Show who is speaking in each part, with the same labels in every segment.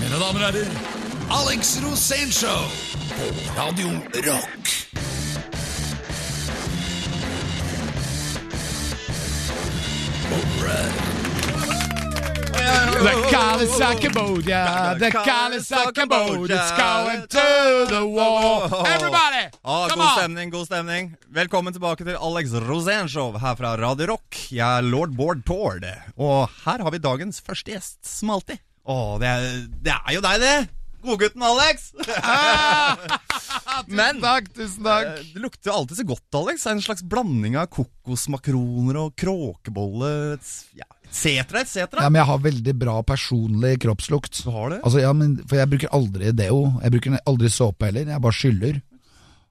Speaker 1: Mine damer og herrer, Alex Rosénshow på Radio Rock.
Speaker 2: The Kallis of Cambodia, the Kallis of Cambodia, it's going to the war. Everybody,
Speaker 3: Ah,
Speaker 2: come on!
Speaker 3: god stemning, god stemning. Velkommen tilbake til Alex Rosén-show her fra Radio Rock. Jeg er lord Bård Tord, og her har vi dagens første gjest, som alltid. Å, det er, det er jo deg, det! Godgutten Alex! Men eh,
Speaker 2: Takk, Ah, tusen takk.
Speaker 3: det lukter jo alltid så godt, Alex. Det er En slags blanding av kokosmakroner og kråkebolle, et- ja, et cetera, et
Speaker 4: Ja,
Speaker 3: cetera.
Speaker 4: men jeg har veldig bra personlig kroppslukt.
Speaker 3: Du har det?
Speaker 4: Altså, ja, men, for jeg bruker aldri deo. Jeg bruker aldri såpe heller. Jeg bare skyller.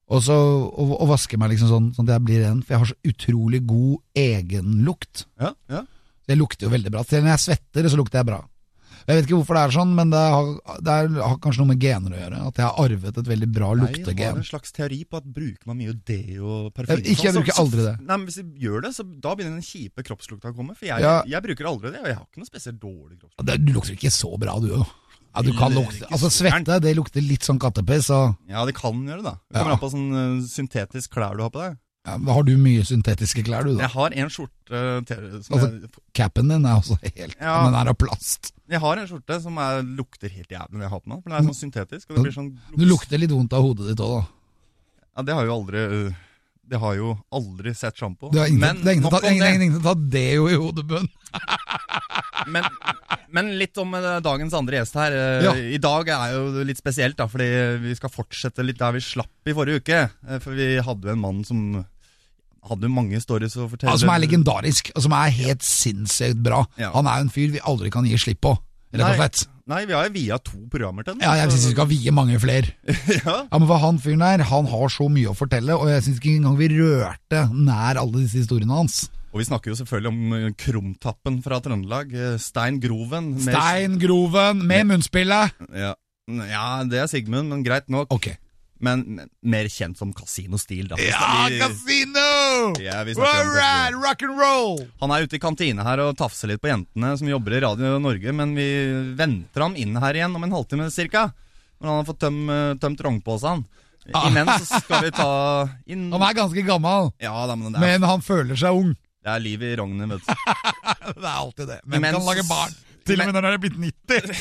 Speaker 4: Og så og, og vasker meg liksom sånn, sånn at jeg blir ren. For jeg har så utrolig god egenlukt.
Speaker 3: Ja, ja.
Speaker 4: Jeg lukter jo veldig bra. Selv når jeg svetter, så lukter jeg bra. Jeg vet ikke hvorfor det er sånn, men det har, det er, har kanskje noe med gener å gjøre. At jeg har arvet et veldig bra
Speaker 3: Jeg har
Speaker 4: luktegen.
Speaker 3: en slags teori på at bruker man mye deo og parfyme
Speaker 4: Jeg- ikke, jeg
Speaker 3: sånn, så-
Speaker 4: bruker
Speaker 3: så-
Speaker 4: aldri det.
Speaker 3: Nei, men Hvis du gjør det, så da begynner den kjipe kroppslukta å komme. For jeg,
Speaker 4: Ja.
Speaker 3: jeg bruker aldri det, og jeg har ikke noe spesielt dårlig kroppslukt.
Speaker 4: Ja, det- Du lukter ikke så bra, du jo. Ja, du kan
Speaker 3: Eller
Speaker 4: lukte
Speaker 3: ikke
Speaker 4: Altså,
Speaker 3: så gærent.
Speaker 4: svette, det lukter litt sånn kattepiss. Og,
Speaker 3: Ja, det kan gjøre det, da. Det kommer
Speaker 4: Ja.
Speaker 3: an på sånn eh, syntetisk klær du har på deg.
Speaker 4: ja, har du mye syntetiske klær, du, da?
Speaker 3: Jeg har en skjorte til, som
Speaker 4: Altså-
Speaker 3: jeg,
Speaker 4: Capen din er også helt
Speaker 3: Ja.
Speaker 4: Den er av plast.
Speaker 3: jeg har en skjorte som er, lukter helt jævlig når jeg har på den. For den er sånn syntetisk. Og det blir sånn
Speaker 4: Du lukter litt vondt av hodet ditt òg, da.
Speaker 3: Ja, det har jo aldri eh, Det har jo aldri sett sjampo.
Speaker 4: Du har ingen, det er ingen,
Speaker 3: nok
Speaker 4: som tar-
Speaker 3: om
Speaker 4: ingen,
Speaker 3: det.
Speaker 4: ingen, ingen som tar det jo i hodebunnen.
Speaker 3: men, men litt om eh, dagens andre gjest her. Eh,
Speaker 4: Ja.
Speaker 3: I dag er jo litt spesielt, da, fordi vi skal fortsette litt der vi slapp i forrige uke. Eh, For vi hadde jo en mann som hadde jo mange stories å fortelle.
Speaker 4: Ja, Altså, som er legendarisk, og som er helt sinnssykt bra.
Speaker 3: Ja.
Speaker 4: Han er jo en fyr vi aldri kan gi slipp på, rett
Speaker 3: Nei.
Speaker 4: og slett.
Speaker 3: Nei, vi har jo via to programmer til den.
Speaker 4: Ja, jeg
Speaker 3: så-
Speaker 4: syns vi skal vie mange flere.
Speaker 3: ja.
Speaker 4: Ja, men for Han fyren der, han har så mye å fortelle, og jeg syns ikke engang vi rørte nær alle disse historiene hans.
Speaker 3: Og vi snakker jo selvfølgelig om eh, Krumtappen fra Trøndelag. eh, Stein Groven. med-
Speaker 4: Stein Groven med munnspillet!
Speaker 3: Ja. ja, det er Sigmund, men greit nok.
Speaker 4: Ok.
Speaker 3: Men, men mer kjent som Kasinostil, da.
Speaker 4: Ja,
Speaker 3: Vi-
Speaker 4: kasino!
Speaker 3: Ja, vi snakker om
Speaker 4: All right,
Speaker 3: kasino.
Speaker 4: rock and roll!
Speaker 3: Han er ute i kantina her og tafser litt på jentene som jobber i Radio Norge, men vi venter ham inn her igjen om en halvtime cirka. Når han har fått tøm, eh, tømt rognposen. Imens så skal vi ta inn
Speaker 4: Han er ganske gammel,
Speaker 3: Ja, da, men det, er,
Speaker 4: men han føler seg ung.
Speaker 3: det er liv i rognet, vet du.
Speaker 4: Det er alltid det. Hvem
Speaker 3: Mens-
Speaker 4: kan lage barn? Til og med når han er blitt 90.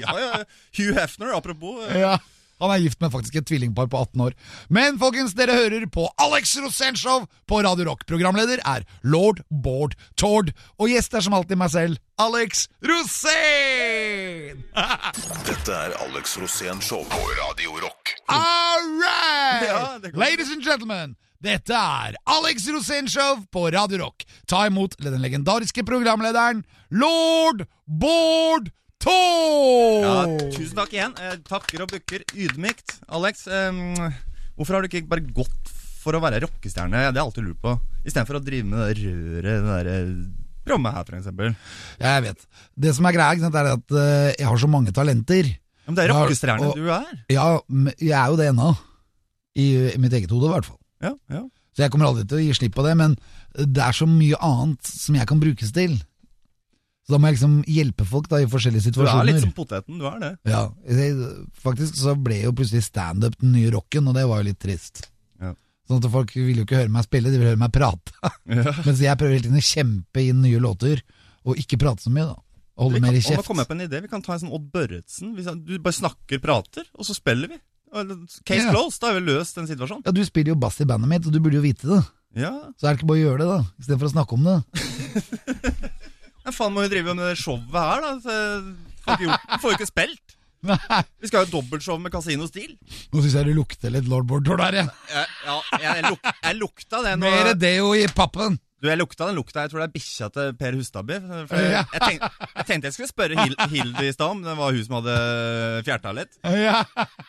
Speaker 3: ja, ja. Hugh Hefner, apropos. eh,
Speaker 4: Ja. Han er gift med faktisk et tvillingpar på 18 år. Men folkens, dere hører på Alex Rosenshov på Radio Rock. Programleder er lord Bård Tord. Og gjest er som alltid meg selv, Alex Rosén!
Speaker 1: Dette er Alex Rosénshow på Radio Rock.
Speaker 4: All right!
Speaker 3: Ja, det går bra.
Speaker 4: Ladies and gentlemen, dette er Alex Rosénshow på Radio Rock. Ta imot den legendariske programlederen lord Bård Tord!
Speaker 3: Ja, tusen takk igjen. Eh, takker og bukker ydmykt. Alex, eh, hvorfor har du ikke bare gått for å være rockestjerne? Det har jeg alltid lurt på. Istedenfor å drive med det røret, det derre programmet her, for eksempel.
Speaker 4: Jeg vet. Det som er greia, ikke sant, er at eh, jeg har så mange talenter.
Speaker 3: Ja, Men det er
Speaker 4: Ja,
Speaker 3: rockestjerne
Speaker 4: og-
Speaker 3: du er.
Speaker 4: Ja, men jeg er jo det ennå. I, I mitt eget hode, i hvert fall.
Speaker 3: Ja, ja.
Speaker 4: Så jeg kommer aldri til å gi slipp på det, men det er så mye annet som jeg kan brukes til. Så da må jeg liksom hjelpe folk da, i forskjellige
Speaker 3: Du er
Speaker 4: situasjoner.
Speaker 3: litt sånn- som poteten, du er det.
Speaker 4: Ja, jeg, faktisk så ble jo plutselig standup den nye rocken, og det var jo litt trist.
Speaker 3: Ja.
Speaker 4: Sånn at folk ville jo ikke høre meg spille, de ville høre meg prate. Mens jeg prøver hele tiden å kjempe inn nye låter, og ikke prate så mye, da.
Speaker 3: Vi
Speaker 4: Og
Speaker 3: kan,
Speaker 4: holde mer i
Speaker 3: og da
Speaker 4: kjeft.
Speaker 3: kom jeg på en idé. Vi kan ta en sånn Odd Børretzen. Hvis jeg- Du bare snakker, prater, og så spiller vi. Og- Case
Speaker 4: Ja.
Speaker 3: closed, da har vi løst den situasjonen.
Speaker 4: Ja, du spiller jo bass i bandet mitt, og du burde jo vite det.
Speaker 3: Ja,
Speaker 4: Så er det ikke bare å gjøre det, da, istedenfor å snakke om det.
Speaker 3: Men faen må vi drive med det showet her, da? Så Får ikke, gjort, får jo ikke spilt.
Speaker 4: Nei,
Speaker 3: Vi skal ha et dobbeltshow med Casino Steel.
Speaker 4: Nå syns jeg det lukter litt Lord Bård Tord her, jeg.
Speaker 3: Ja, ja, jeg, luk, jeg lukta den.
Speaker 4: Mer
Speaker 3: Og,
Speaker 4: deo i pappen.
Speaker 3: du, jeg lukta den lukta. Jeg tror det er bikkja til Per Hustadby. For
Speaker 4: Ja.
Speaker 3: jeg, jeg, tenkte, jeg tenkte jeg skulle spørre Hil- Hilde i stad om det var hun som hadde fjerta litt.
Speaker 4: Ja.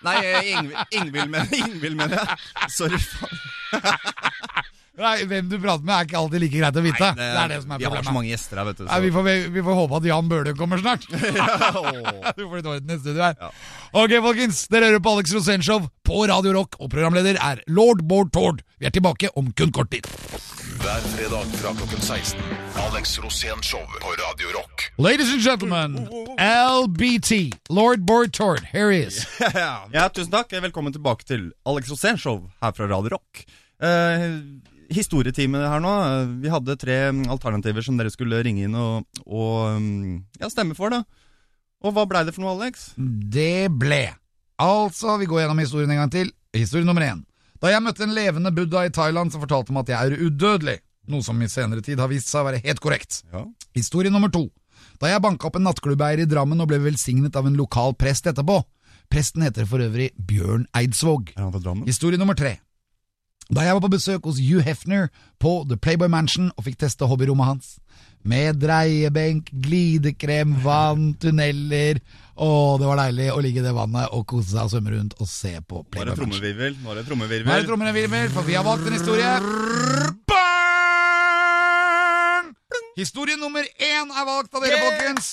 Speaker 3: Nei, Ingv- Ingvild, mener jeg. Ingvild, mener jeg. Sorry, faen.
Speaker 4: Nei, hvem du prater med, er ikke alltid like greit å vite. det, er det som er
Speaker 3: vi har så
Speaker 4: problemet.
Speaker 3: mange gjester her, vet du.
Speaker 4: Nei, vi, får, vi får håpe at Jan Bøhler kommer snart.
Speaker 3: Så.
Speaker 4: Du får litt orden i studio her.
Speaker 3: Ja.
Speaker 4: Ok, folkens. Dere hører på Alex Rosénshow på Radio Rock, og programleder er lord Bård Tord. Vi er tilbake om kun kort tid.
Speaker 1: Hver fredag fra klokken 16. Alex Rosén Show på Radio Rock.
Speaker 4: Ladies and gentlemen, LBT, Lord Bortord. Here he is.
Speaker 3: Ja, tusen takk. Velkommen tilbake til Alex Rosén Show her fra Radio Rock. Eh, historieteamet her nå. eh, Vi hadde tre mm, alternativer som dere skulle ringe inn og, og mm, ja, stemme for, da. Og hva blei det for noe, Alex?
Speaker 4: Det ble. Altså, vi går gjennom historien en gang til. Historie nummer én. Da jeg møtte en levende buddha i Thailand som fortalte meg at jeg er udødelig, noe som i senere tid har vist seg å være helt korrekt.
Speaker 3: Ja.
Speaker 4: Historie nummer to. Da jeg banka opp en nattklubbeier i Drammen og ble velsignet av en lokal prest etterpå. Presten heter for øvrig Bjørn Eidsvåg.
Speaker 3: Er han fra Drammen?
Speaker 4: Historie nummer tre. Da jeg var på besøk hos Hugh Hefner på The Playboy Mansion og fikk teste hobbyrommet hans. Med dreiebenk, glidekrem, vann, tunneler. Å, det var deilig å ligge i det vannet og kose seg og svømme rundt og se på
Speaker 3: Nå er det
Speaker 4: Playboy Mansion.
Speaker 3: trommevirvel. Nå er det
Speaker 4: Nå er det
Speaker 3: trommevirvel.
Speaker 4: trommer og virvel, for vi har valgt en historie. Historie nummer én er valgt av dere, folkens.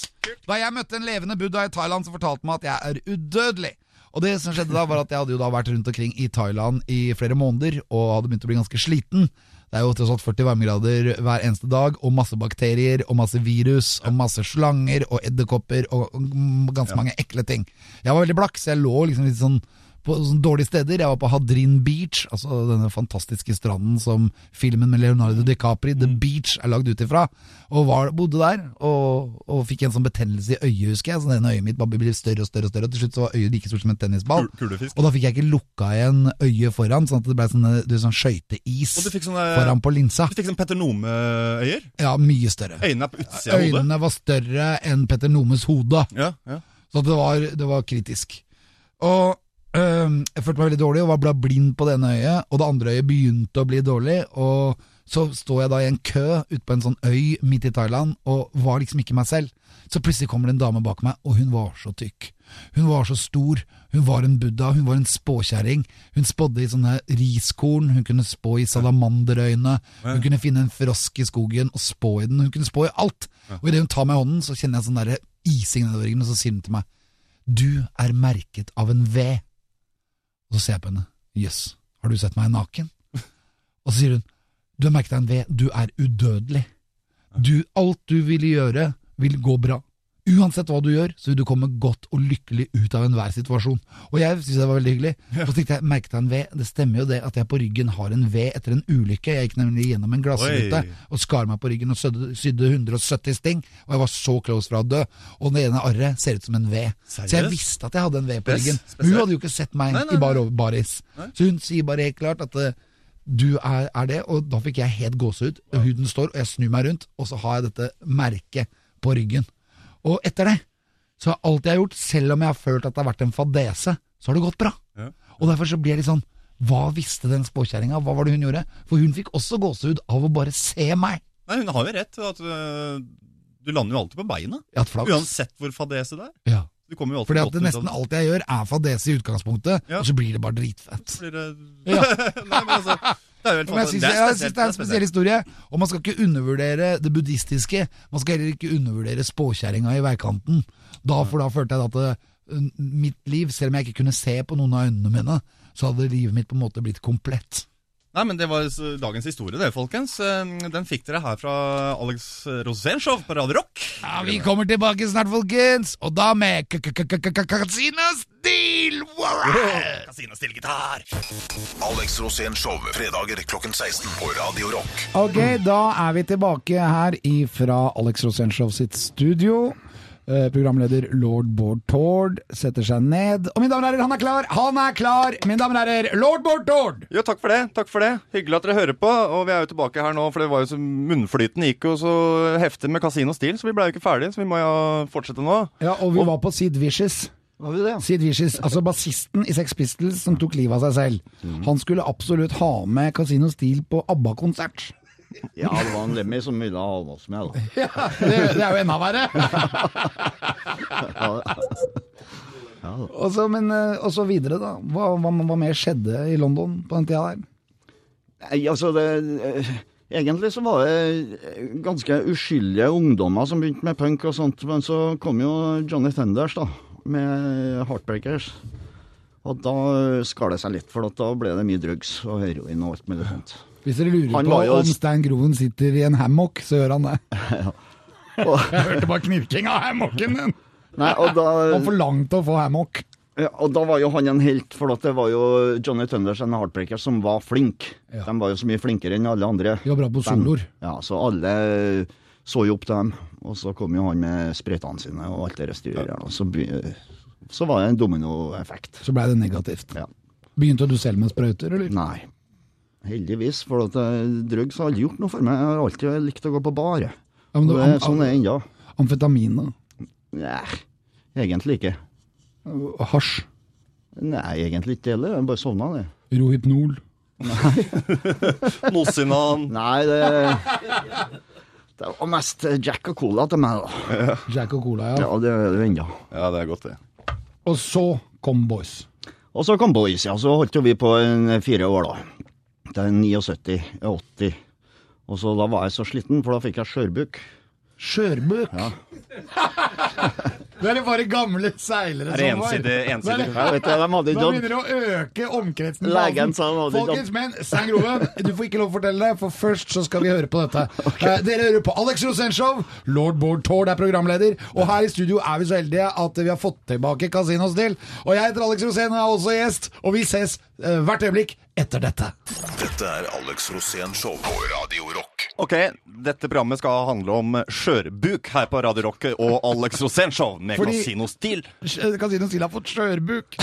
Speaker 4: Da jeg møtte en levende buddha i Thailand som fortalte meg at jeg er udødelig. Og det som skjedde da, var at jeg hadde jo da vært rundt omkring i Thailand i flere måneder og hadde begynt å bli ganske sliten. Det er jo tross alt 40 varmegrader hver eneste dag, og masse bakterier, og masse virus, og masse slanger, og edderkopper, og og ganske mange ekle ting. Jeg var veldig blakk, så jeg lå liksom litt sånn på sånne dårlige steder. Jeg var på Hadrin Beach, altså denne fantastiske stranden som filmen med Leonardo DiCapri,
Speaker 3: Mm.
Speaker 4: The Beach, er lagd ut ifra. Og var, bodde der, og, og fikk en sånn betennelse i øyet, husker jeg. Så det ene øyet mitt bare ble større og større, og større, og til slutt så var øyet like stort som en tennisball.
Speaker 3: Kul- Kulefisk.
Speaker 4: Og da fikk jeg ikke lukka igjen øyet foran, sånn at det ble sånne, det er sånn skøyteis
Speaker 3: Og du fikk sånne,
Speaker 4: foran på linsa.
Speaker 3: du fikk sånne Petter Nome-øyer.
Speaker 4: Ja, mye større.
Speaker 3: Øynene er på utsida av hodet.
Speaker 4: Øynene var større enn Petter Nomes hode.
Speaker 3: Ja, ja.
Speaker 4: Så det var, det var kritisk. Og øhm, jeg følte meg veldig dårlig og var ble blind på det ene øyet, og det andre øyet begynte å bli dårlig. Og så står jeg da i en kø ute på en sånn øy midt i Thailand og var liksom ikke meg selv. Så plutselig kommer det en dame bak meg, og hun var så tykk. Hun var så stor, hun var en buddha, hun var en spåkjerring. Hun spådde i sånne riskorn, hun kunne spå i salamanderøyne, hun kunne finne en frosk i skogen og spå i den, hun kunne spå i alt. Og idet hun tar meg i hånden, så kjenner jeg sånn derre ising nedover ryggen, og så sier hun til meg du er merket av en V. Og så ser jeg på henne. Jøss, yes, har du sett meg naken? Og så sier hun. Du er merket av en V. Du er udødelig. Du, alt du vil gjøre, vil gå bra. Uansett hva du gjør, så vil du komme godt og lykkelig ut av enhver situasjon. Og jeg synes det var veldig hyggelig. Og så tenkte jeg, merket jeg en V? Det stemmer jo det at jeg på ryggen har en V etter en ulykke. Jeg gikk nemlig gjennom en glassrute
Speaker 3: Oi.
Speaker 4: og skar meg på ryggen og sødde- sydde 170 sting. Og jeg var så close fra å dø. Og det ene arret ser ut som en V. Så jeg
Speaker 3: Seriøst?
Speaker 4: visste at jeg hadde en V på
Speaker 3: Spes-
Speaker 4: ryggen. Men
Speaker 3: spesielt.
Speaker 4: hun hadde jo ikke sett meg
Speaker 3: Nei, nei,
Speaker 4: i bar over baris. Så hun sier bare helt klart at eh, du er, er det, og da fikk jeg helt gåsehud. Huden står, og jeg snur meg rundt, og så har jeg dette merket på ryggen. Og etter det så har alt jeg har gjort, selv om jeg har følt at det har vært en fadese, så har det gått bra.
Speaker 3: Ja.
Speaker 4: Og derfor så blir jeg litt sånn Hva visste den spåkjerringa? Hva var det hun gjorde? For hun fikk også gåsehud av å bare se meg.
Speaker 3: Nei, hun har jo rett. At, øh, du lander jo alltid på beina.
Speaker 4: Jeg har hatt flaks.
Speaker 3: Uansett hvor fadese det er.
Speaker 4: Ja.
Speaker 3: Du kommer jo alltid
Speaker 4: Fordi at
Speaker 3: godt
Speaker 4: det
Speaker 3: ut av
Speaker 4: nesten alt jeg gjør, er fadese i utgangspunktet,
Speaker 3: Ja.
Speaker 4: og så blir det bare dritfett.
Speaker 3: blir det...
Speaker 4: Ja.
Speaker 3: Nei, men altså, det er jo helt
Speaker 4: Men jeg
Speaker 3: fantastisk.
Speaker 4: syns det, jeg synes det er en spesiell historie, og man skal ikke undervurdere det buddhistiske. Man skal heller ikke undervurdere spåkjerringa i veikanten. Da, for da følte jeg at det, uh, mitt liv, selv om jeg ikke kunne se på noen av øynene mine, så hadde livet mitt på en måte blitt komplett.
Speaker 3: Nei, men det var s- dagens historie, det, folkens. Eh, Den fikk dere her fra Alex Rosén Show på Radio Rock.
Speaker 4: Ja, Vi kommer tilbake snart, folkens, og da med Casinos Deal!
Speaker 3: Casino stille gitar.
Speaker 1: Alex Rosén Show fredager klokken 16 på Radio Rock.
Speaker 4: Ok, da er vi tilbake her ifra Alex Rosenshov sitt studio. Eh, Programleder lord Bård Tord setter seg ned. Og mine damer og herrer, han er klar! Han er klar! Mine damer og herrer, lord Bård Tord!
Speaker 3: Jo, takk for det. takk for det. Hyggelig at dere hører på. Og vi er jo tilbake her nå, for det var jo så munnflyten gikk jo så heftig med Casino Steel, så vi blei jo ikke ferdig, så vi må jo fortsette nå.
Speaker 4: Ja, og vi var på Sid Vicious.
Speaker 3: Var vi det?
Speaker 4: Sid Vicious, altså bassisten i Sex Pistols som tok livet av seg selv. Han skulle absolutt ha med Casino Steel på ABBA-konsert.
Speaker 5: Ja, det var en Lemmy som ville ha oss med, da.
Speaker 4: Det, det er jo enda verre! Og så, men, eh, og så videre, da. Hva, hva, hva mer skjedde i London på den tida der?
Speaker 5: Nei, altså det eh, Egentlig så var det eh, ganske uskyldige ungdommer som begynte med punk og sånt, men så kom jo Johnny Thunders, da, med Heartbreakers. Og da skar det seg litt, for at da ble det mye drugs og heroin og alt mulig sånt.
Speaker 4: Hvis dere lurer
Speaker 5: Han
Speaker 4: på
Speaker 5: var jo-
Speaker 4: om Stein Groven sitter i en hammock, så gjør han det.
Speaker 5: Og,
Speaker 4: Jeg hørte bare knirking av hammocken din!
Speaker 5: nei, og da,
Speaker 4: Han forlangte å få hammock.
Speaker 5: ja, og da var jo han en helt, for at det var jo Johnny Thunders and Heartbreakers som var flink.
Speaker 4: Ja.
Speaker 5: De var jo så mye flinkere enn alle andre.
Speaker 4: De var bra på
Speaker 5: Band.
Speaker 4: soloer.
Speaker 5: Ja, så alle så jo opp til dem. Og så kom jo han med sprøytene sine og alt det styret der. og Så, begy- så var det en dominoeffekt.
Speaker 4: Så blei det negativt.
Speaker 5: Ja.
Speaker 4: Begynte du selv med sprøyter, eller?
Speaker 5: Nei. Heldigvis, for at eh, drugs har aldri gjort noe for meg. Jeg har alltid likt å gå på bar. jeg.
Speaker 4: Ja, men
Speaker 5: Og
Speaker 4: det
Speaker 5: det
Speaker 4: var
Speaker 5: er sånn
Speaker 4: am
Speaker 5: det er ennå.
Speaker 4: amfetamin, da.
Speaker 5: Nei, egentlig ikke.
Speaker 4: Og Hasj.
Speaker 5: Nei, egentlig ikke heller. Jeg bare sovna, det.
Speaker 4: Rohypnol.
Speaker 3: Nossinan.
Speaker 5: Nei, det Det var mest Jack og Cola til meg, da.
Speaker 4: Jack og cola, ja.
Speaker 5: Ja, det er det ennå.
Speaker 3: Ja, det er godt, det.
Speaker 4: Og så kom Boys.
Speaker 5: Og så kom Boys, ja. Så holdt jo vi på en eh, fire år, da. Til 79-80. Og så da var jeg så sliten, for da fikk jeg skjørbuk.
Speaker 4: Skjørbøk. Dere bare gamle seilere
Speaker 3: Er det ensidig? ensidig?
Speaker 5: Jeg vet det, de
Speaker 4: Da
Speaker 5: hadde ikke
Speaker 4: begynner det å øke omkretsen. i basen.
Speaker 5: Legen sa han hadde ikke
Speaker 4: Folkens, men Stein Groven, du får ikke lov å fortelle det, for først så skal vi høre på dette. Eh, Dere hører på Alex Rosenshov. Lord Bård Tord er programleder. Og her i studio er vi så heldige at vi har fått tilbake Casino Still. Og jeg heter Alex Rosén og er også gjest. Og vi ses eh, hvert øyeblikk etter dette.
Speaker 1: Dette er Alex Rosén Show på Radio Rock.
Speaker 3: Ok, dette programmet skal handle om skjørbuk her på Radio Rock og Alex Rosén Show med
Speaker 4: Fordi-
Speaker 3: Casino Steel.
Speaker 4: Sj- eh, Casino Still har fått skjørbuk.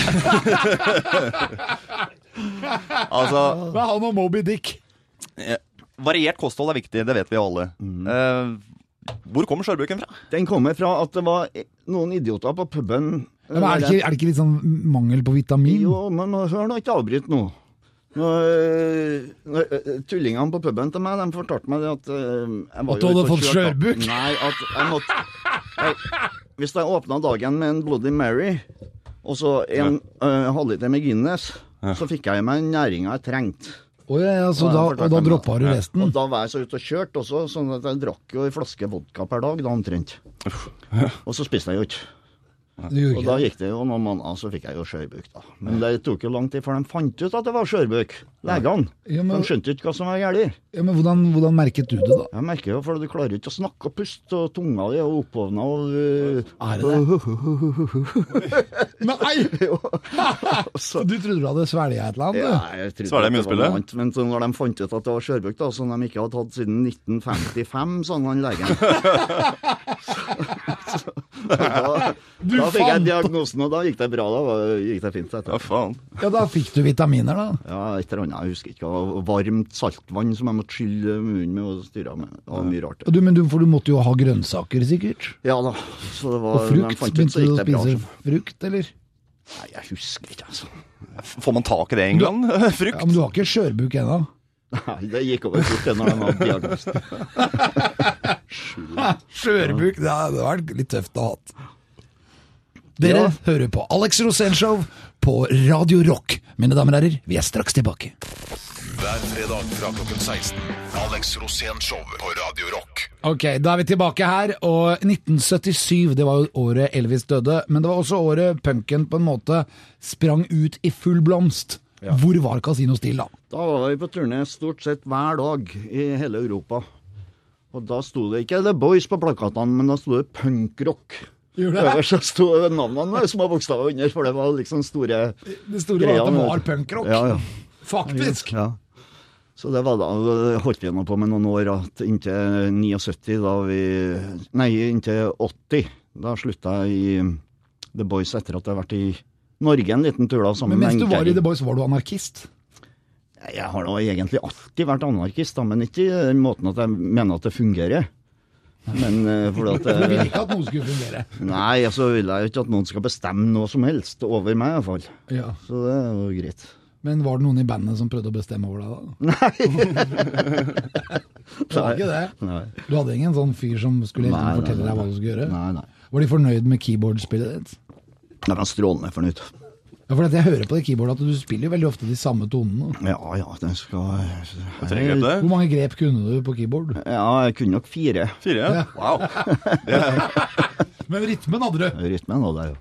Speaker 3: Altså,
Speaker 4: Det er han og Moby Dick.
Speaker 3: eh, variert kosthold er viktig, det vet vi jo alle. Eh, hvor kommer skjørbuken fra?
Speaker 5: Den kommer fra at det var noen idioter på puben.
Speaker 4: Men er det, ikke, er det ikke litt sånn mangel på vitamin?
Speaker 5: Jo, men nå- hør nå, ikke avbryt nå. Når, når, eh, tullingene på puben til meg, de fortalte meg det at eh, jeg var
Speaker 4: At du
Speaker 5: jo
Speaker 4: hadde
Speaker 5: ute og
Speaker 4: fått
Speaker 5: kjørte, da.
Speaker 4: skjørbuk?
Speaker 5: Nei, at jeg måtte jeg, Hvis jeg åpna dagen med en Bloody Mary og så en eh, halvliter med Guinness, så fikk jeg i meg næringa jeg trengte.
Speaker 4: Å ja, ja, så da, og da droppa du resten?
Speaker 5: Og da var jeg så ute og kjørte også, sånn at jeg drakk jo en flaske vodka per dag, da omtrent. Og så spiste jeg jo ikke.
Speaker 4: Du gjorde
Speaker 5: Og
Speaker 4: ikke
Speaker 5: da
Speaker 4: det.
Speaker 5: gikk det jo noen måneder, så fikk jeg jo skjørbuk, da. Men det tok jo lang tid før de fant ut at det var skjørbuk. Legene.
Speaker 4: Ja, men-
Speaker 5: De skjønte jo ikke hva som var galt.
Speaker 4: Ja, men hvordan, hvordan merket du det, da?
Speaker 5: Jeg merker jo, for du klarer jo ikke å snakke og puste, og tunga di er jo opphovna og uh,
Speaker 4: Er det det? Nei! Så du trodde du hadde svelga et eller
Speaker 5: ja,
Speaker 4: annet?
Speaker 5: jeg
Speaker 3: Svarer de
Speaker 5: trodde at det var
Speaker 3: mye å spille?
Speaker 5: noe annet, Men så når de fant ut at det var skjørbuk, da, som de ikke hadde tatt siden 1955, sa han legen så, så, da, da fikk
Speaker 4: fant-
Speaker 5: jeg diagnosen, og da gikk det bra. Da var- gikk det fint
Speaker 3: Ja,
Speaker 5: etterpå.
Speaker 3: faen.
Speaker 4: Ja. ja, da fikk du vitaminer, da.
Speaker 5: Ja, et eller annet, jeg husker ikke. Og Varmt saltvann som jeg måtte skylle munnen med og styre med. Det var mye rart.
Speaker 4: Og du, men du, for du måtte jo ha grønnsaker, sikkert?
Speaker 5: Ja da. Så det var,
Speaker 4: Og
Speaker 5: når de
Speaker 4: frukt?
Speaker 5: fant ut,
Speaker 4: Begynte
Speaker 5: så
Speaker 4: du å
Speaker 5: gikk det bra.
Speaker 4: spise frukt, eller?
Speaker 5: Nei, jeg husker ikke, altså.
Speaker 3: Får man tak i det i England?
Speaker 4: Ja,
Speaker 3: Frukt?
Speaker 4: Men du har ikke skjørbuk ennå?
Speaker 5: Nei, det gikk over fort det når de hadde diagnosen.
Speaker 4: Skjørbuk, det hadde vært litt tøft å ha hatt. Dere
Speaker 5: Ja.
Speaker 4: hører på Alex Rosénshow på Radio Rock. Mine damer og herrer, vi er straks tilbake.
Speaker 1: Hver fredag fra klokken 16. Alex Rosén Show på Radio Rock.
Speaker 4: Ok, da er vi tilbake her, og 1977, det var jo året Elvis døde, men det var også året punken på en måte sprang ut i full blomst. Hvor var Casino Still da?
Speaker 5: Da var vi på turné stort sett hver dag i hele Europa. Og da sto det ikke The Boys på plakatene, men da sto det punkrock. Øverst så sto navnene med små bokstaver under, for det var liksom store
Speaker 4: Det store var at det var punkrock,
Speaker 5: Ja, ja.
Speaker 4: faktisk.
Speaker 5: Ja. Så det var da det holdt vi nå på med noen år, at inntil 79 da vi Nei, inntil 80. Da slutta jeg i The Boys etter at jeg har vært i Norge en liten tur da sammen
Speaker 4: Men mens du var i
Speaker 5: Enkeling.
Speaker 4: The Boys, var du anarkist?
Speaker 5: Jeg har da egentlig alltid vært anarkist, da, men ikke i den måten at jeg mener at det fungerer. Men eh, fordi at
Speaker 4: Du ville
Speaker 5: eh,
Speaker 4: ikke at noe skulle fungere.
Speaker 5: Nei, så vil jeg jo ikke at noen skal bestemme noe som helst over meg, i hvert fall.
Speaker 4: Ja.
Speaker 5: Så det er jo greit.
Speaker 4: Men var det noen i bandet som prøvde å bestemme over deg da? Nei. det var ikke det.
Speaker 5: Nei,
Speaker 4: Du hadde ingen sånn fyr som skulle hele tiden fortelle
Speaker 5: Nei, nei, nei,
Speaker 4: deg hva du skulle gjøre?
Speaker 5: nei. nei.
Speaker 4: Var de fornøyd med keyboardspillet ditt?
Speaker 5: Jeg er strålende fornøyd.
Speaker 4: Ja, for at jeg hører på det keyboardet at du spiller jo veldig ofte de samme tonene.
Speaker 5: Ja, ja, den skal eh,
Speaker 3: Trenger du
Speaker 4: Hvor
Speaker 3: det?
Speaker 4: mange grep kunne du på keyboard?
Speaker 5: Ja, jeg kunne nok fire.
Speaker 3: Fire? Wow.
Speaker 4: Men rytmen hadde du.
Speaker 5: Rytmen og det er jo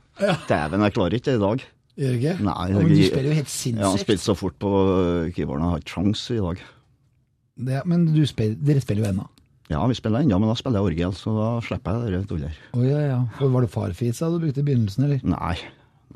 Speaker 5: Dæven, jeg klarer ikke det i dag.
Speaker 4: Gjør ikke?
Speaker 5: Nei,
Speaker 4: ja, men du
Speaker 5: jeg-
Speaker 4: spiller jo helt
Speaker 5: Jeg har
Speaker 4: sinnssykt.
Speaker 5: spilt så fort på øh, keyboarden, jeg har ikke sjans i dag.
Speaker 4: Det, men du spiller, dere spiller jo ennå.
Speaker 5: Ja, vi spiller ennå, men da spiller jeg orgel, så da slipper jeg det tullet her.
Speaker 4: Å ja, ja. Og Var det farfisa du brukte i begynnelsen, eller?
Speaker 5: Nei.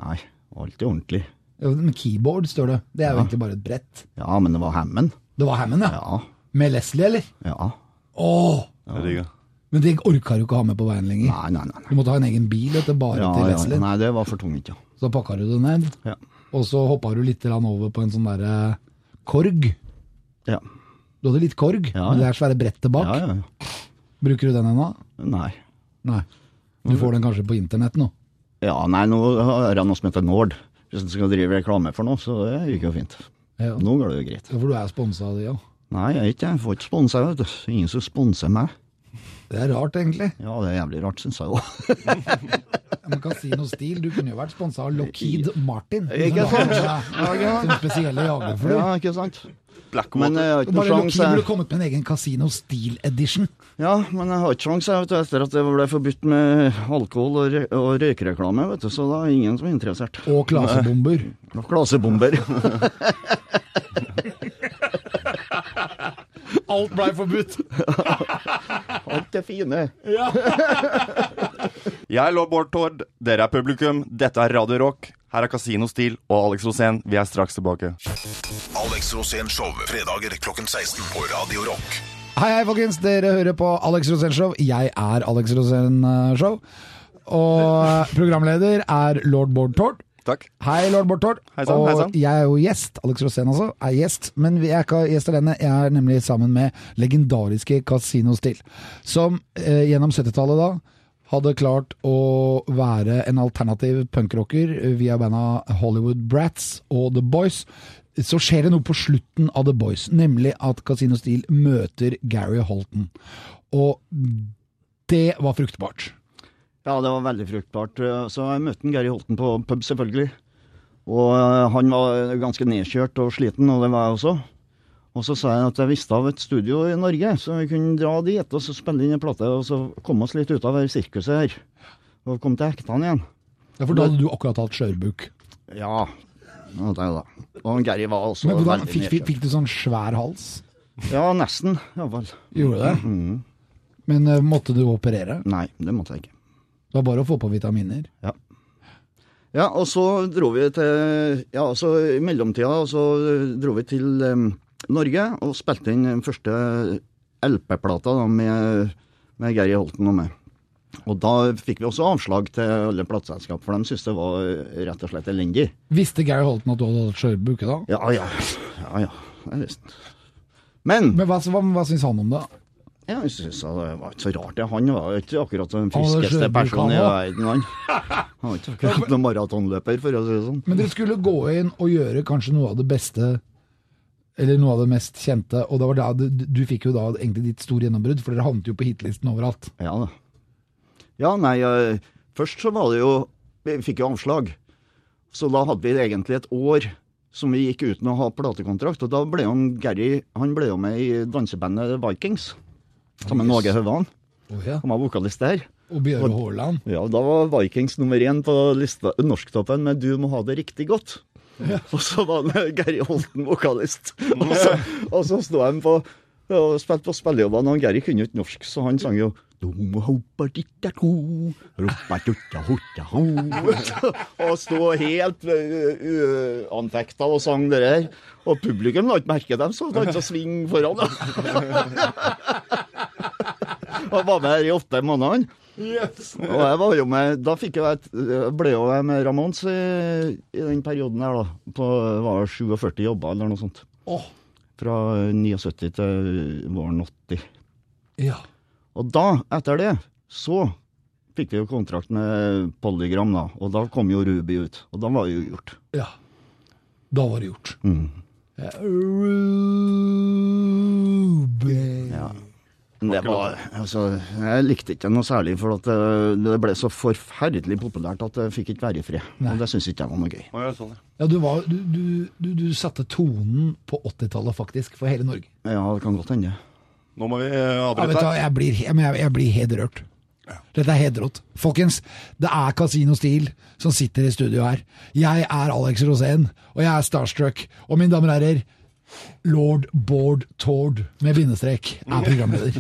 Speaker 5: Nei. Alltid ordentlig.
Speaker 4: Ja, Men keyboard, står det. Det er jo egentlig bare et brett.
Speaker 5: Ja, men det var Hammond.
Speaker 4: Det var Hammond, ja.
Speaker 5: Ja.
Speaker 4: Med Leslie, eller?
Speaker 5: Ja.
Speaker 4: Åh!
Speaker 3: Det er digg, ja.
Speaker 4: Men det orka du ikke å ha med på veien lenger.
Speaker 5: Nei, nei, nei. nei.
Speaker 4: Du måtte ha en egen bil etter bare
Speaker 5: Ja,
Speaker 4: til
Speaker 5: ja,
Speaker 4: Leslie.
Speaker 5: nei, det var for tungt, ja.
Speaker 4: Så pakka du det ned,
Speaker 5: Ja.
Speaker 4: og så hoppa du litt grann over på en sånn derre korg.
Speaker 5: Ja.
Speaker 4: Du hadde litt korg,
Speaker 5: Ja,
Speaker 4: men
Speaker 5: ja.
Speaker 4: det er svære brettet bak.
Speaker 5: ja, ja, ja.
Speaker 4: Bruker du den ennå?
Speaker 5: Nei.
Speaker 4: Nei. Du får den kanskje på internett nå.
Speaker 5: Ja, nei, nå har jeg noe som heter Nord. Hvis du skal drive reklame for noe, så det gikk jo fint.
Speaker 4: Ja.
Speaker 5: Nå går det jo greit.
Speaker 4: Ja, For du er sponsa av de òg.
Speaker 5: Nei, jeg er ikke jeg. Får ikke sponsa, vet du. Ingen som sponser meg.
Speaker 4: Det er rart, egentlig.
Speaker 5: Ja, det er jævlig rart, syns jeg òg.
Speaker 4: Man kan si noe stil. Du kunne jo vært sponsa av Lockheed Martin.
Speaker 5: Ikke
Speaker 4: som
Speaker 5: sant?
Speaker 4: lager seg Som spesielle jagerfly.
Speaker 5: Ja, ikke sant? Men
Speaker 3: Blackwater.
Speaker 5: jeg har ikke noe
Speaker 4: Bare Lockheed
Speaker 5: sjanse.
Speaker 4: burde kommet med en egen Casino Steel Edition.
Speaker 5: Ja, men jeg har ikke sjanse jeg, vet du, etter at det ble forbudt med alkohol og, røy og røykereklame, vet du, så da er ingen som er interessert.
Speaker 4: Og klasebomber.
Speaker 5: Og Klasebomber.
Speaker 6: Alt blei forbudt.
Speaker 5: Alt det fine.
Speaker 3: Jeg lå Bård Tord, dere er publikum, dette er Radio Rock. Her er Kasinostil og Alex Rosén. Vi er straks tilbake.
Speaker 1: Alex Rosén Show, fredager klokken 16 på Radio Rock.
Speaker 4: Hei, hei, folkens. Dere hører på Alex Rosén Show. Jeg er Alex Rosén eh, Show. Og eh, programleder er lord Bård Tord.
Speaker 3: Takk.
Speaker 4: Hei, lord Bård Tord.
Speaker 3: Hei sann,
Speaker 4: og
Speaker 3: hei sann.
Speaker 4: jeg er jo gjest. Alex Rosén altså, er gjest. Men vi er ikke gjest alene. Jeg er nemlig sammen med legendariske Casino Steel, som eh, gjennom 70-tallet da hadde klart å være en alternativ punkrocker eh, via banda Hollywood Brats og The Boys. Så skjer det noe på slutten av The Boys, nemlig at Casino Steel møter Gary Holton. Og det var fruktbart.
Speaker 5: Ja, det var veldig fruktbart. Eh, Så jeg møtte en Gary Holten på pub, selvfølgelig. Og eh, han var ganske nedkjørt og sliten, og det var jeg også. Og så sa jeg at jeg visste av et studio i Norge, så vi kunne dra dit og så spille inn en plate og så komme oss litt ut av det sirkuset her. Og komme til hektene igjen.
Speaker 4: Ja, For da hadde du akkurat hatt skjørbuk.
Speaker 5: Ja, det er jo da. Og Gary var også
Speaker 4: Men hvordan,
Speaker 5: veldig
Speaker 4: fikk, fikk,
Speaker 5: nedkjørt.
Speaker 4: fikk du sånn svær hals?
Speaker 5: Ja, nesten, iallfall.
Speaker 4: Gjorde du det? Men eh, måtte du operere?
Speaker 5: Nei, det måtte jeg ikke.
Speaker 4: Det var bare å få på vitaminer.
Speaker 5: Ja, og så dro vi til Ja, så i mellomtida så dro vi til em, Norge og spilte inn den første LP-plata da, med, med Gary Holten og meg. Og da fikk vi også avslag til alle plateselskap, for de syntes det var eh, rett og slett elendig.
Speaker 4: Visste Gary Holton at du hadde hatt skjørbuke da?
Speaker 5: Ja ja, ja ja, jeg visste Men
Speaker 4: Men hva, hva, hva syns han om det?
Speaker 5: ja, jeg synes det var ikke så rart. det. Han var jo ikke akkurat den
Speaker 4: Han var
Speaker 5: friskeste
Speaker 4: sjøbukan
Speaker 5: personen i
Speaker 4: også.
Speaker 5: verden, han. Han var ikke akkurat noen maratonløper, for å si det sånn.
Speaker 4: Men dere skulle gå inn og gjøre kanskje noe av det beste eller noe av det mest kjente, og det var da du, du fikk jo da egentlig ditt store gjennombrudd, for dere havnet jo på hitlisten overalt.
Speaker 5: Ja da. Ja, nei, eh, først så var det jo Vi fikk jo avslag. Så da hadde vi egentlig et år som vi gikk uten å ha platekontrakt. Og da ble jo han Gary han ble jo med i dansebandet Vikings. Sammen med Åge Hauan.
Speaker 4: Oh, ja.
Speaker 5: Han var vokalist der.
Speaker 4: Og Bjørge Haaland.
Speaker 5: Ja, da var Vikings nummer én på lista, norsktoppen med 'Du må ha det riktig godt'. Og så var det Gary Holten vokalist. Og så, og så sto han på og spilte på spillejobbene, og Gary kunne jo ikke norsk, så han sang jo «Du må hoppe dit jeg tror, roppe dutta hotta ho». Og sto helt eh, uanfekta og sang det der. Og publikum la ikke merke dem, så han ikke svinge foran. da. Og var med her i åtte måneder. han. Og jeg var jo med, da fikk jeg et, jeg ble jo jeg med Ramones i, i den perioden her da, på var det 47 jobber eller noe sånt.
Speaker 4: Åh,
Speaker 5: Fra 79 til våren 80.
Speaker 4: ja.
Speaker 5: Og da, etter det, så fikk vi jo kontrakt med Polygram da, og da kom jo Ruby ut, og da var det jo gjort. Mm.
Speaker 4: Ja. Da var det gjort. Ja, Ruben.
Speaker 5: Men det var, altså, jeg likte ikke noe særlig, for at eh, det ble så forferdelig populært at jeg fikk ikke være i fred. Og det synes ikke jeg var noe gøy.
Speaker 3: Å, ja, sånn, ja.
Speaker 4: Ja, du, var, du, du, du, du satte tonen på 80-tallet, faktisk, for hele Norge.
Speaker 5: Ja, det kan godt hende.
Speaker 3: Nå må vi eh,
Speaker 4: Ja, vet
Speaker 3: avbryte
Speaker 4: du, hva,
Speaker 3: her.
Speaker 4: jeg, blir, he- men jeg, jeg blir helt rørt. Dette er helt rått. Folkens, det er Casino Steel som sitter i studio her. Jeg er Alex Rosén, og jeg er starstruck. Og mine damer og herrer, Lord Bård Tord med bindestrek er programleder.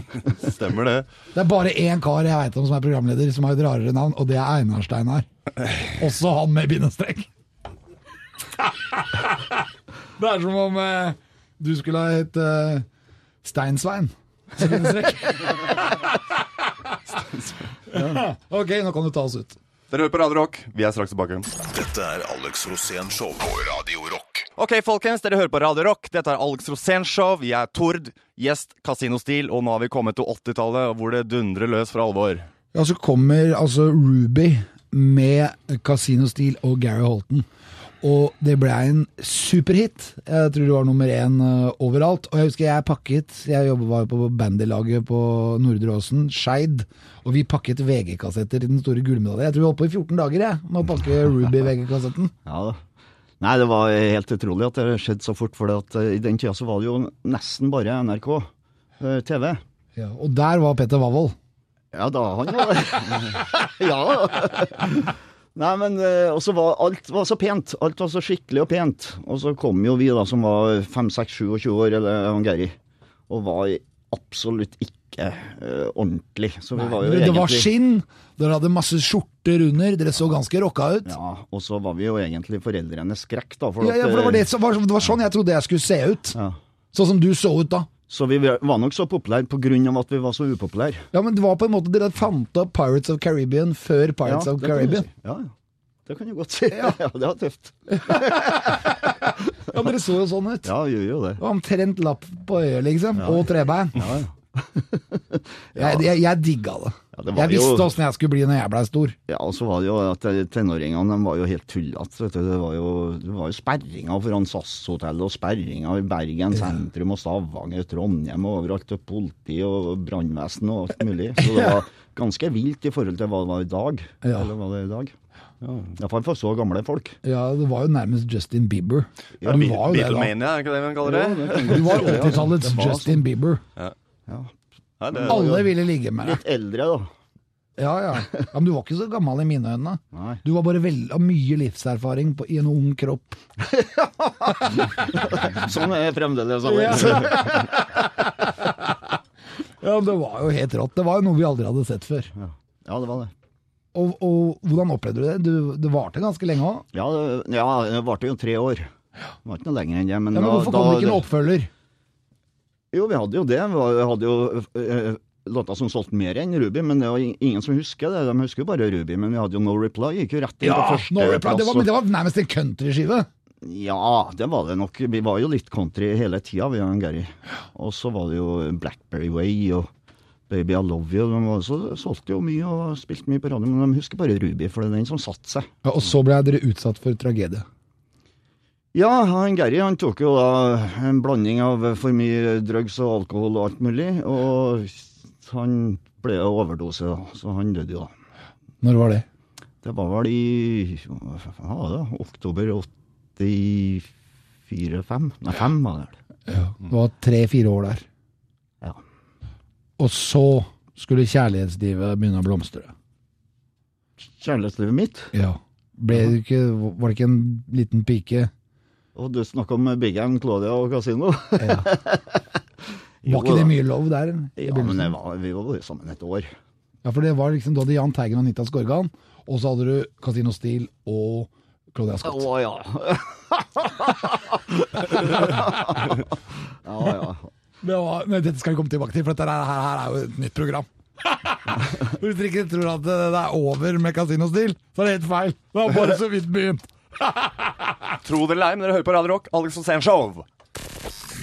Speaker 3: Stemmer det.
Speaker 4: Det er bare én kar jeg veit om som er programleder, som har et rarere navn, og det er Einar Steinar. Også han med bindestrek. Det er som om eh, du skulle ha hett eh, Steinsvein. Så bindestrek. Ja. Ok, nå kan du ta oss ut.
Speaker 3: Dere hører på Radio Rock. Vi er straks tilbake.
Speaker 1: Dette er Alex Rosén Show på Radio Rock.
Speaker 3: Ok, folkens, dere hører på Radio Rock. Dette er Alex Rosén Show. Vi er Tord, gjest, kasinostil, og nå har vi kommet til 80-tallet, hvor det dundrer løs for alvor.
Speaker 4: Ja, så kommer altså Ruby med Casino Steel og Gary Holton. Og det ble en superhit. Jeg tror det var nummer én eh, overalt. Og jeg husker jeg pakket Jeg jobbet var på bandylaget på Nordre Åsen, Skeid. Og vi pakket VG-kassetter i den store gullmedaljen. Jeg tror vi holdt på i 14 dager jeg, med å pakke Ruby VG-kassetten.
Speaker 5: Ja da. Nei, det var helt utrolig at det skjedde så fort, for det at eh, i den tida så var det jo nesten bare NRK eh, TV.
Speaker 4: Ja, og der var Petter Wavold.
Speaker 5: Ja da, han var det. ja. Nei, men eh, også var alt var så pent. Alt var så skikkelig og pent. Og så kom jo vi da som var 5-6-27 år, eller han Geiri, og var absolutt ikke eh, ordentlig. Så vi var jo
Speaker 4: det var
Speaker 5: egentlig-
Speaker 4: skinn, dere hadde masse skjorter under, dere så ganske rocka ut.
Speaker 5: Ja, og så var vi jo egentlig foreldrenes skrekk, da. eh,
Speaker 4: Ja, ja, for det var, det, som var, det var sånn jeg trodde jeg skulle se ut.
Speaker 5: Ja.
Speaker 4: Sånn som du så ut da.
Speaker 5: Så vi var nok så populære på grunn av at vi var så upopulære.
Speaker 4: Ja, men det var på en måte dere fant opp Pirates of Caribbean før Pirates of
Speaker 5: det kan du
Speaker 4: Caribbean.
Speaker 5: si. Ja, ja. Det kan du godt si. Ja, det var tøft.
Speaker 4: Ja, men Dere så jo sånn ut.
Speaker 5: Ja, vi gjør jo det.
Speaker 4: Det var Omtrent lapp på øyet, liksom. Og trebein.
Speaker 5: Ja, ja.
Speaker 4: Jeg, jeg, jeg digga det.
Speaker 5: Ja, det var
Speaker 4: jeg visste
Speaker 5: jo-
Speaker 4: åssen jeg skulle bli når jeg blei stor.
Speaker 5: Ja, og så var det jo at eh, tenåringene de var jo helt tullete. vet du. Det var jo, det var jo sperringer foran SAS-hotellet, og sperringer i Bergen sentrum, og Stavanger, Trondheim, og overalt. Og politi og brannvesen og alt mulig. Så det var ganske vilt i forhold til hva det var i dag.
Speaker 4: Ja.
Speaker 5: Eller hva det er i dag. Ja, Iallfall for så gamle folk.
Speaker 4: Ja, Det var jo nærmest Justin Bieber. Ja, det var jo det,
Speaker 3: Beatlemania, er ikke det man kaller det?
Speaker 4: da. Du var 80-tallets
Speaker 5: var sånn.
Speaker 4: Justin Bieber.
Speaker 3: Ja, det
Speaker 4: Alle ville ligge med deg.
Speaker 5: Litt eldre, da.
Speaker 4: Ja, ja. ja, Men du var ikke så gammel i mine øyne.
Speaker 5: Nei.
Speaker 4: Du var bare vel, av mye livserfaring på, i en ung kropp.
Speaker 5: Sånn er jeg fremdeles.
Speaker 4: altså.
Speaker 5: Alex.
Speaker 4: Ja, Det var jo helt rått. Det var jo noe vi aldri hadde sett før.
Speaker 5: Ja, det var det.
Speaker 4: Og, og hvordan opplevde du det? Du, det varte ganske lenge òg.
Speaker 5: Ja, det, ja, det varte jo tre år. Det var ikke noe lenger enn det. Men,
Speaker 4: Ja, men
Speaker 5: da-
Speaker 4: hvorfor
Speaker 5: da,
Speaker 4: kom det ikke en oppfølger?
Speaker 5: Jo, vi hadde jo det. Vi var- vi hadde jo eh, låter som solgte mer enn Ruby, men det var in- ingen som husker det. De husker jo bare Ruby, men vi hadde jo No Reply. Gikk jo rett inn på første
Speaker 4: No Reply. Det var,
Speaker 5: plass,
Speaker 4: men det var nærmest en countryskive.
Speaker 5: og- Ja, det var det nok. Vi var jo litt country hele tida, vi og Gary. Og så var det jo Blackberry Way og Baby I Love You. De var, så solgte jo mye og spilte mye på radio, men de husker bare Ruby, for det er den som satte seg.
Speaker 4: Ja, og så ble dere utsatt for tragedie.
Speaker 5: Ja, han Gary han tok jo da en blanding av for mye drugs og alkohol og alt mulig, og han ble jo overdose, da, så han døde jo da.
Speaker 4: Når var det?
Speaker 5: Det var vel i ja, da, oktober 84-5? Nei, 5 var det vel.
Speaker 4: Det var tre-fire år der.
Speaker 5: Ja.
Speaker 4: Og så skulle kjærlighetslivet begynne å blomstre.
Speaker 5: Kjærlighetslivet mitt.
Speaker 4: Ja. Ble det ikke, var det ikke en liten pike?
Speaker 5: Og du snakka om Big M, Claudia og Casino.
Speaker 4: Var ikke det mye lov der? i
Speaker 5: Ja, men
Speaker 4: begynnelsen?
Speaker 5: det var, vi var jo sammen et år.
Speaker 4: ja, for det var liksom, Du hadde Jahn Teigen og Anita Skorgan, og så hadde du Casino Steel og Claudia
Speaker 5: Å
Speaker 4: Scott.
Speaker 5: ja. ja, ja.
Speaker 4: Det var, men dette skal vi komme tilbake til, for dette her, her, her er jo et nytt program. Hvis dere ikke tror at eh, det er over med Casino Steel, så er det helt feil. Det har bare så vidt begynt.
Speaker 3: Tro det eller ei, men dere hører på Radio Rock. Alex Rosén Show.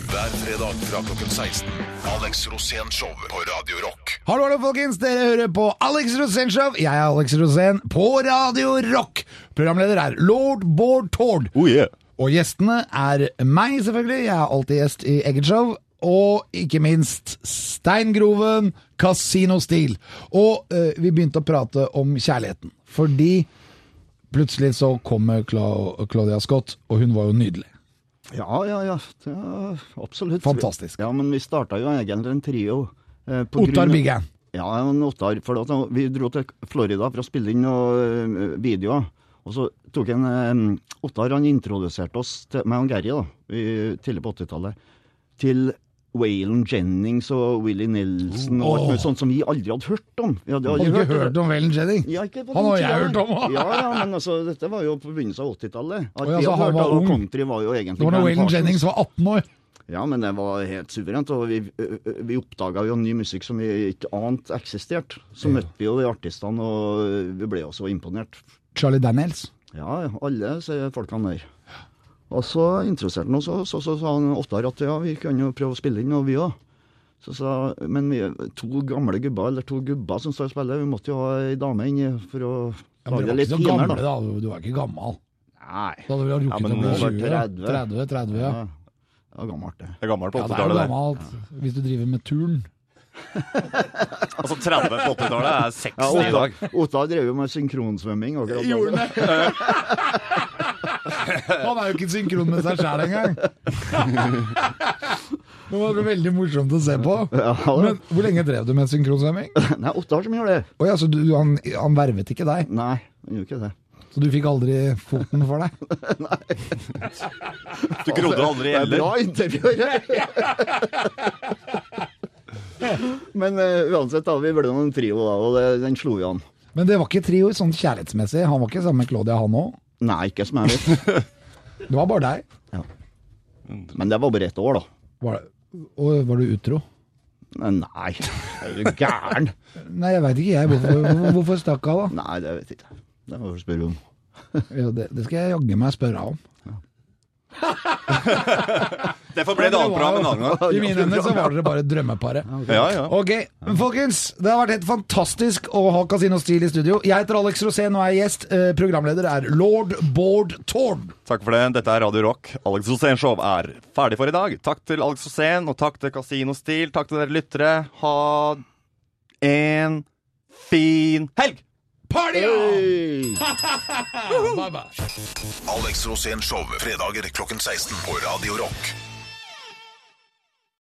Speaker 1: Hver fredag fra klokken 16. Alex Rosén Show på Radio Rock.
Speaker 4: Hallo, hallo, folkens. Dere hører på Alex Rosén Show. Jeg er Alex Rosén på Radio Rock. Programleder er lord Bård Tord.
Speaker 3: Oh yeah.
Speaker 4: Og gjestene er meg, selvfølgelig. Jeg er alltid gjest i eget show. Og ikke minst Steingroven Kasinostil. Og eh, vi begynte å prate om kjærligheten. Fordi plutselig så kommer Cla Claudia Scott, og hun var jo nydelig.
Speaker 5: Ja, ja, ja. Det er absolutt.
Speaker 4: Fantastisk.
Speaker 5: Ja, men vi starta jo egentlig en trio. eh, på grunn
Speaker 4: Ottar
Speaker 5: av-
Speaker 4: Bigge.
Speaker 5: Ja, en Ottar. For at vi dro til Florida for å spille inn noen eh, videoer. Og Og så tok en eh, Ottar han introduserte oss til meg og Gary da, i, tidlig på 80-tallet til Waylon Jennings og Willie Nelson og alt mulig sånt som vi aldri hadde hørt om. Vi hadde
Speaker 4: Hadde du
Speaker 5: aldri
Speaker 4: ikke
Speaker 5: hørt
Speaker 4: hørt om Valen Jennings?
Speaker 5: ja, ikke på
Speaker 4: Han
Speaker 5: den
Speaker 4: har jeg
Speaker 5: tida,
Speaker 4: hørt om også.
Speaker 5: ja, ja, men altså, dette var jo på begynnelsen av 80-tallet. At
Speaker 4: Å, ja,
Speaker 5: vi
Speaker 4: så
Speaker 5: har
Speaker 4: han
Speaker 5: hørt
Speaker 4: var
Speaker 5: om
Speaker 4: ung.
Speaker 5: country var jo egentlig
Speaker 4: Det var da
Speaker 5: Grand
Speaker 4: Waylon
Speaker 5: Parsons.
Speaker 4: Jennings var 18 år.
Speaker 5: Ja, men det var helt suverent, og vi, ø, ø, vi oppdaga jo ny musikk som vi ikke ante eksisterte. Så møtte vi jo de artistene, og vi ble jo så imponert.
Speaker 4: Charlie Daniels.
Speaker 5: Ja, ja, alle sier folkene der. Og så introduserte han oss, og så, så sa han Ottar at ja, vi kan jo prøve å spille inn, og vi òg. Så sa men vi er to gamle gubber, eller to gubber som står og spiller, vi måtte jo ha ei dame inn for å
Speaker 4: Ja, men dere
Speaker 5: lage det
Speaker 4: var
Speaker 5: litt
Speaker 4: ikke så gamle,
Speaker 5: finere, da.
Speaker 4: da. Du- Du var ikke gammel.
Speaker 5: Nei.
Speaker 4: Da hadde vi
Speaker 3: Ja,
Speaker 4: rukket
Speaker 3: men
Speaker 4: å bli
Speaker 3: nå
Speaker 4: 20.
Speaker 5: var det 30.
Speaker 4: 30, 30, ja.
Speaker 5: Ja. Det var gammelt, det.
Speaker 3: Det er gammelt på
Speaker 4: Ja, det er jo
Speaker 3: 80-tallet. det.
Speaker 4: gammelt hvis du driver med turn.
Speaker 3: altså 30 på 80-tallet er 60
Speaker 5: Ja,
Speaker 3: i dag.
Speaker 5: Ottar, Ottar drev jo med synkronsvømming. akkurat da.
Speaker 4: Han er jo ikke synkron med seg sjæl engang! Det var veldig morsomt å se på.
Speaker 5: Ja,
Speaker 4: Men hvor lenge drev du med synkronsvømming?
Speaker 5: Nei, Ottar som gjør det.
Speaker 4: Å ja, så du, han, han vervet ikke deg,
Speaker 5: Nei, han gjorde ikke det.
Speaker 4: så du fikk aldri foten for deg?
Speaker 3: Du grodde aldri
Speaker 5: Det er
Speaker 3: heller.
Speaker 5: bra intervjuer. Men eh, uansett, da, vi ble noen trio, da, og det, den slo jo an.
Speaker 4: Men det var ikke trio sånn kjærlighetsmessig. Han var ikke sammen med Claudia, han òg.
Speaker 5: Nei, ikke som jeg vet.
Speaker 4: Det var bare deg.
Speaker 5: Men det var bare ett år, da.
Speaker 4: Var, og var du utro?
Speaker 5: Nei, er du gæren?
Speaker 4: Nei, jeg veit ikke jeg. Hvorfor, hvorfor, hvorfor stakk hun,
Speaker 5: Nei, det vet jeg ikke. Det må du spørre om.
Speaker 4: da? Ja, det, det skal jeg jaggu meg spørre henne om.
Speaker 3: Derfor ble det annet program en annen gang.
Speaker 4: I mine øyne så var dere bare drømmeparet.
Speaker 3: Ja, ja.
Speaker 4: Ok, men folkens, det har vært helt fantastisk å ha Casino Steel i studio. Jeg heter Alex Rosén og er gjest. Eh, Programleder er lord Bård Tord.
Speaker 3: Takk for det. Dette er Radio Rock. Alex Rosén Show er ferdig for i dag. Takk til Alex Rosén, og takk til Casino Steel. Takk til dere lyttere. Ha en fin helg!
Speaker 4: Party on!
Speaker 1: Alex Rosén Show, fredager klokken 16 på Radio Rock.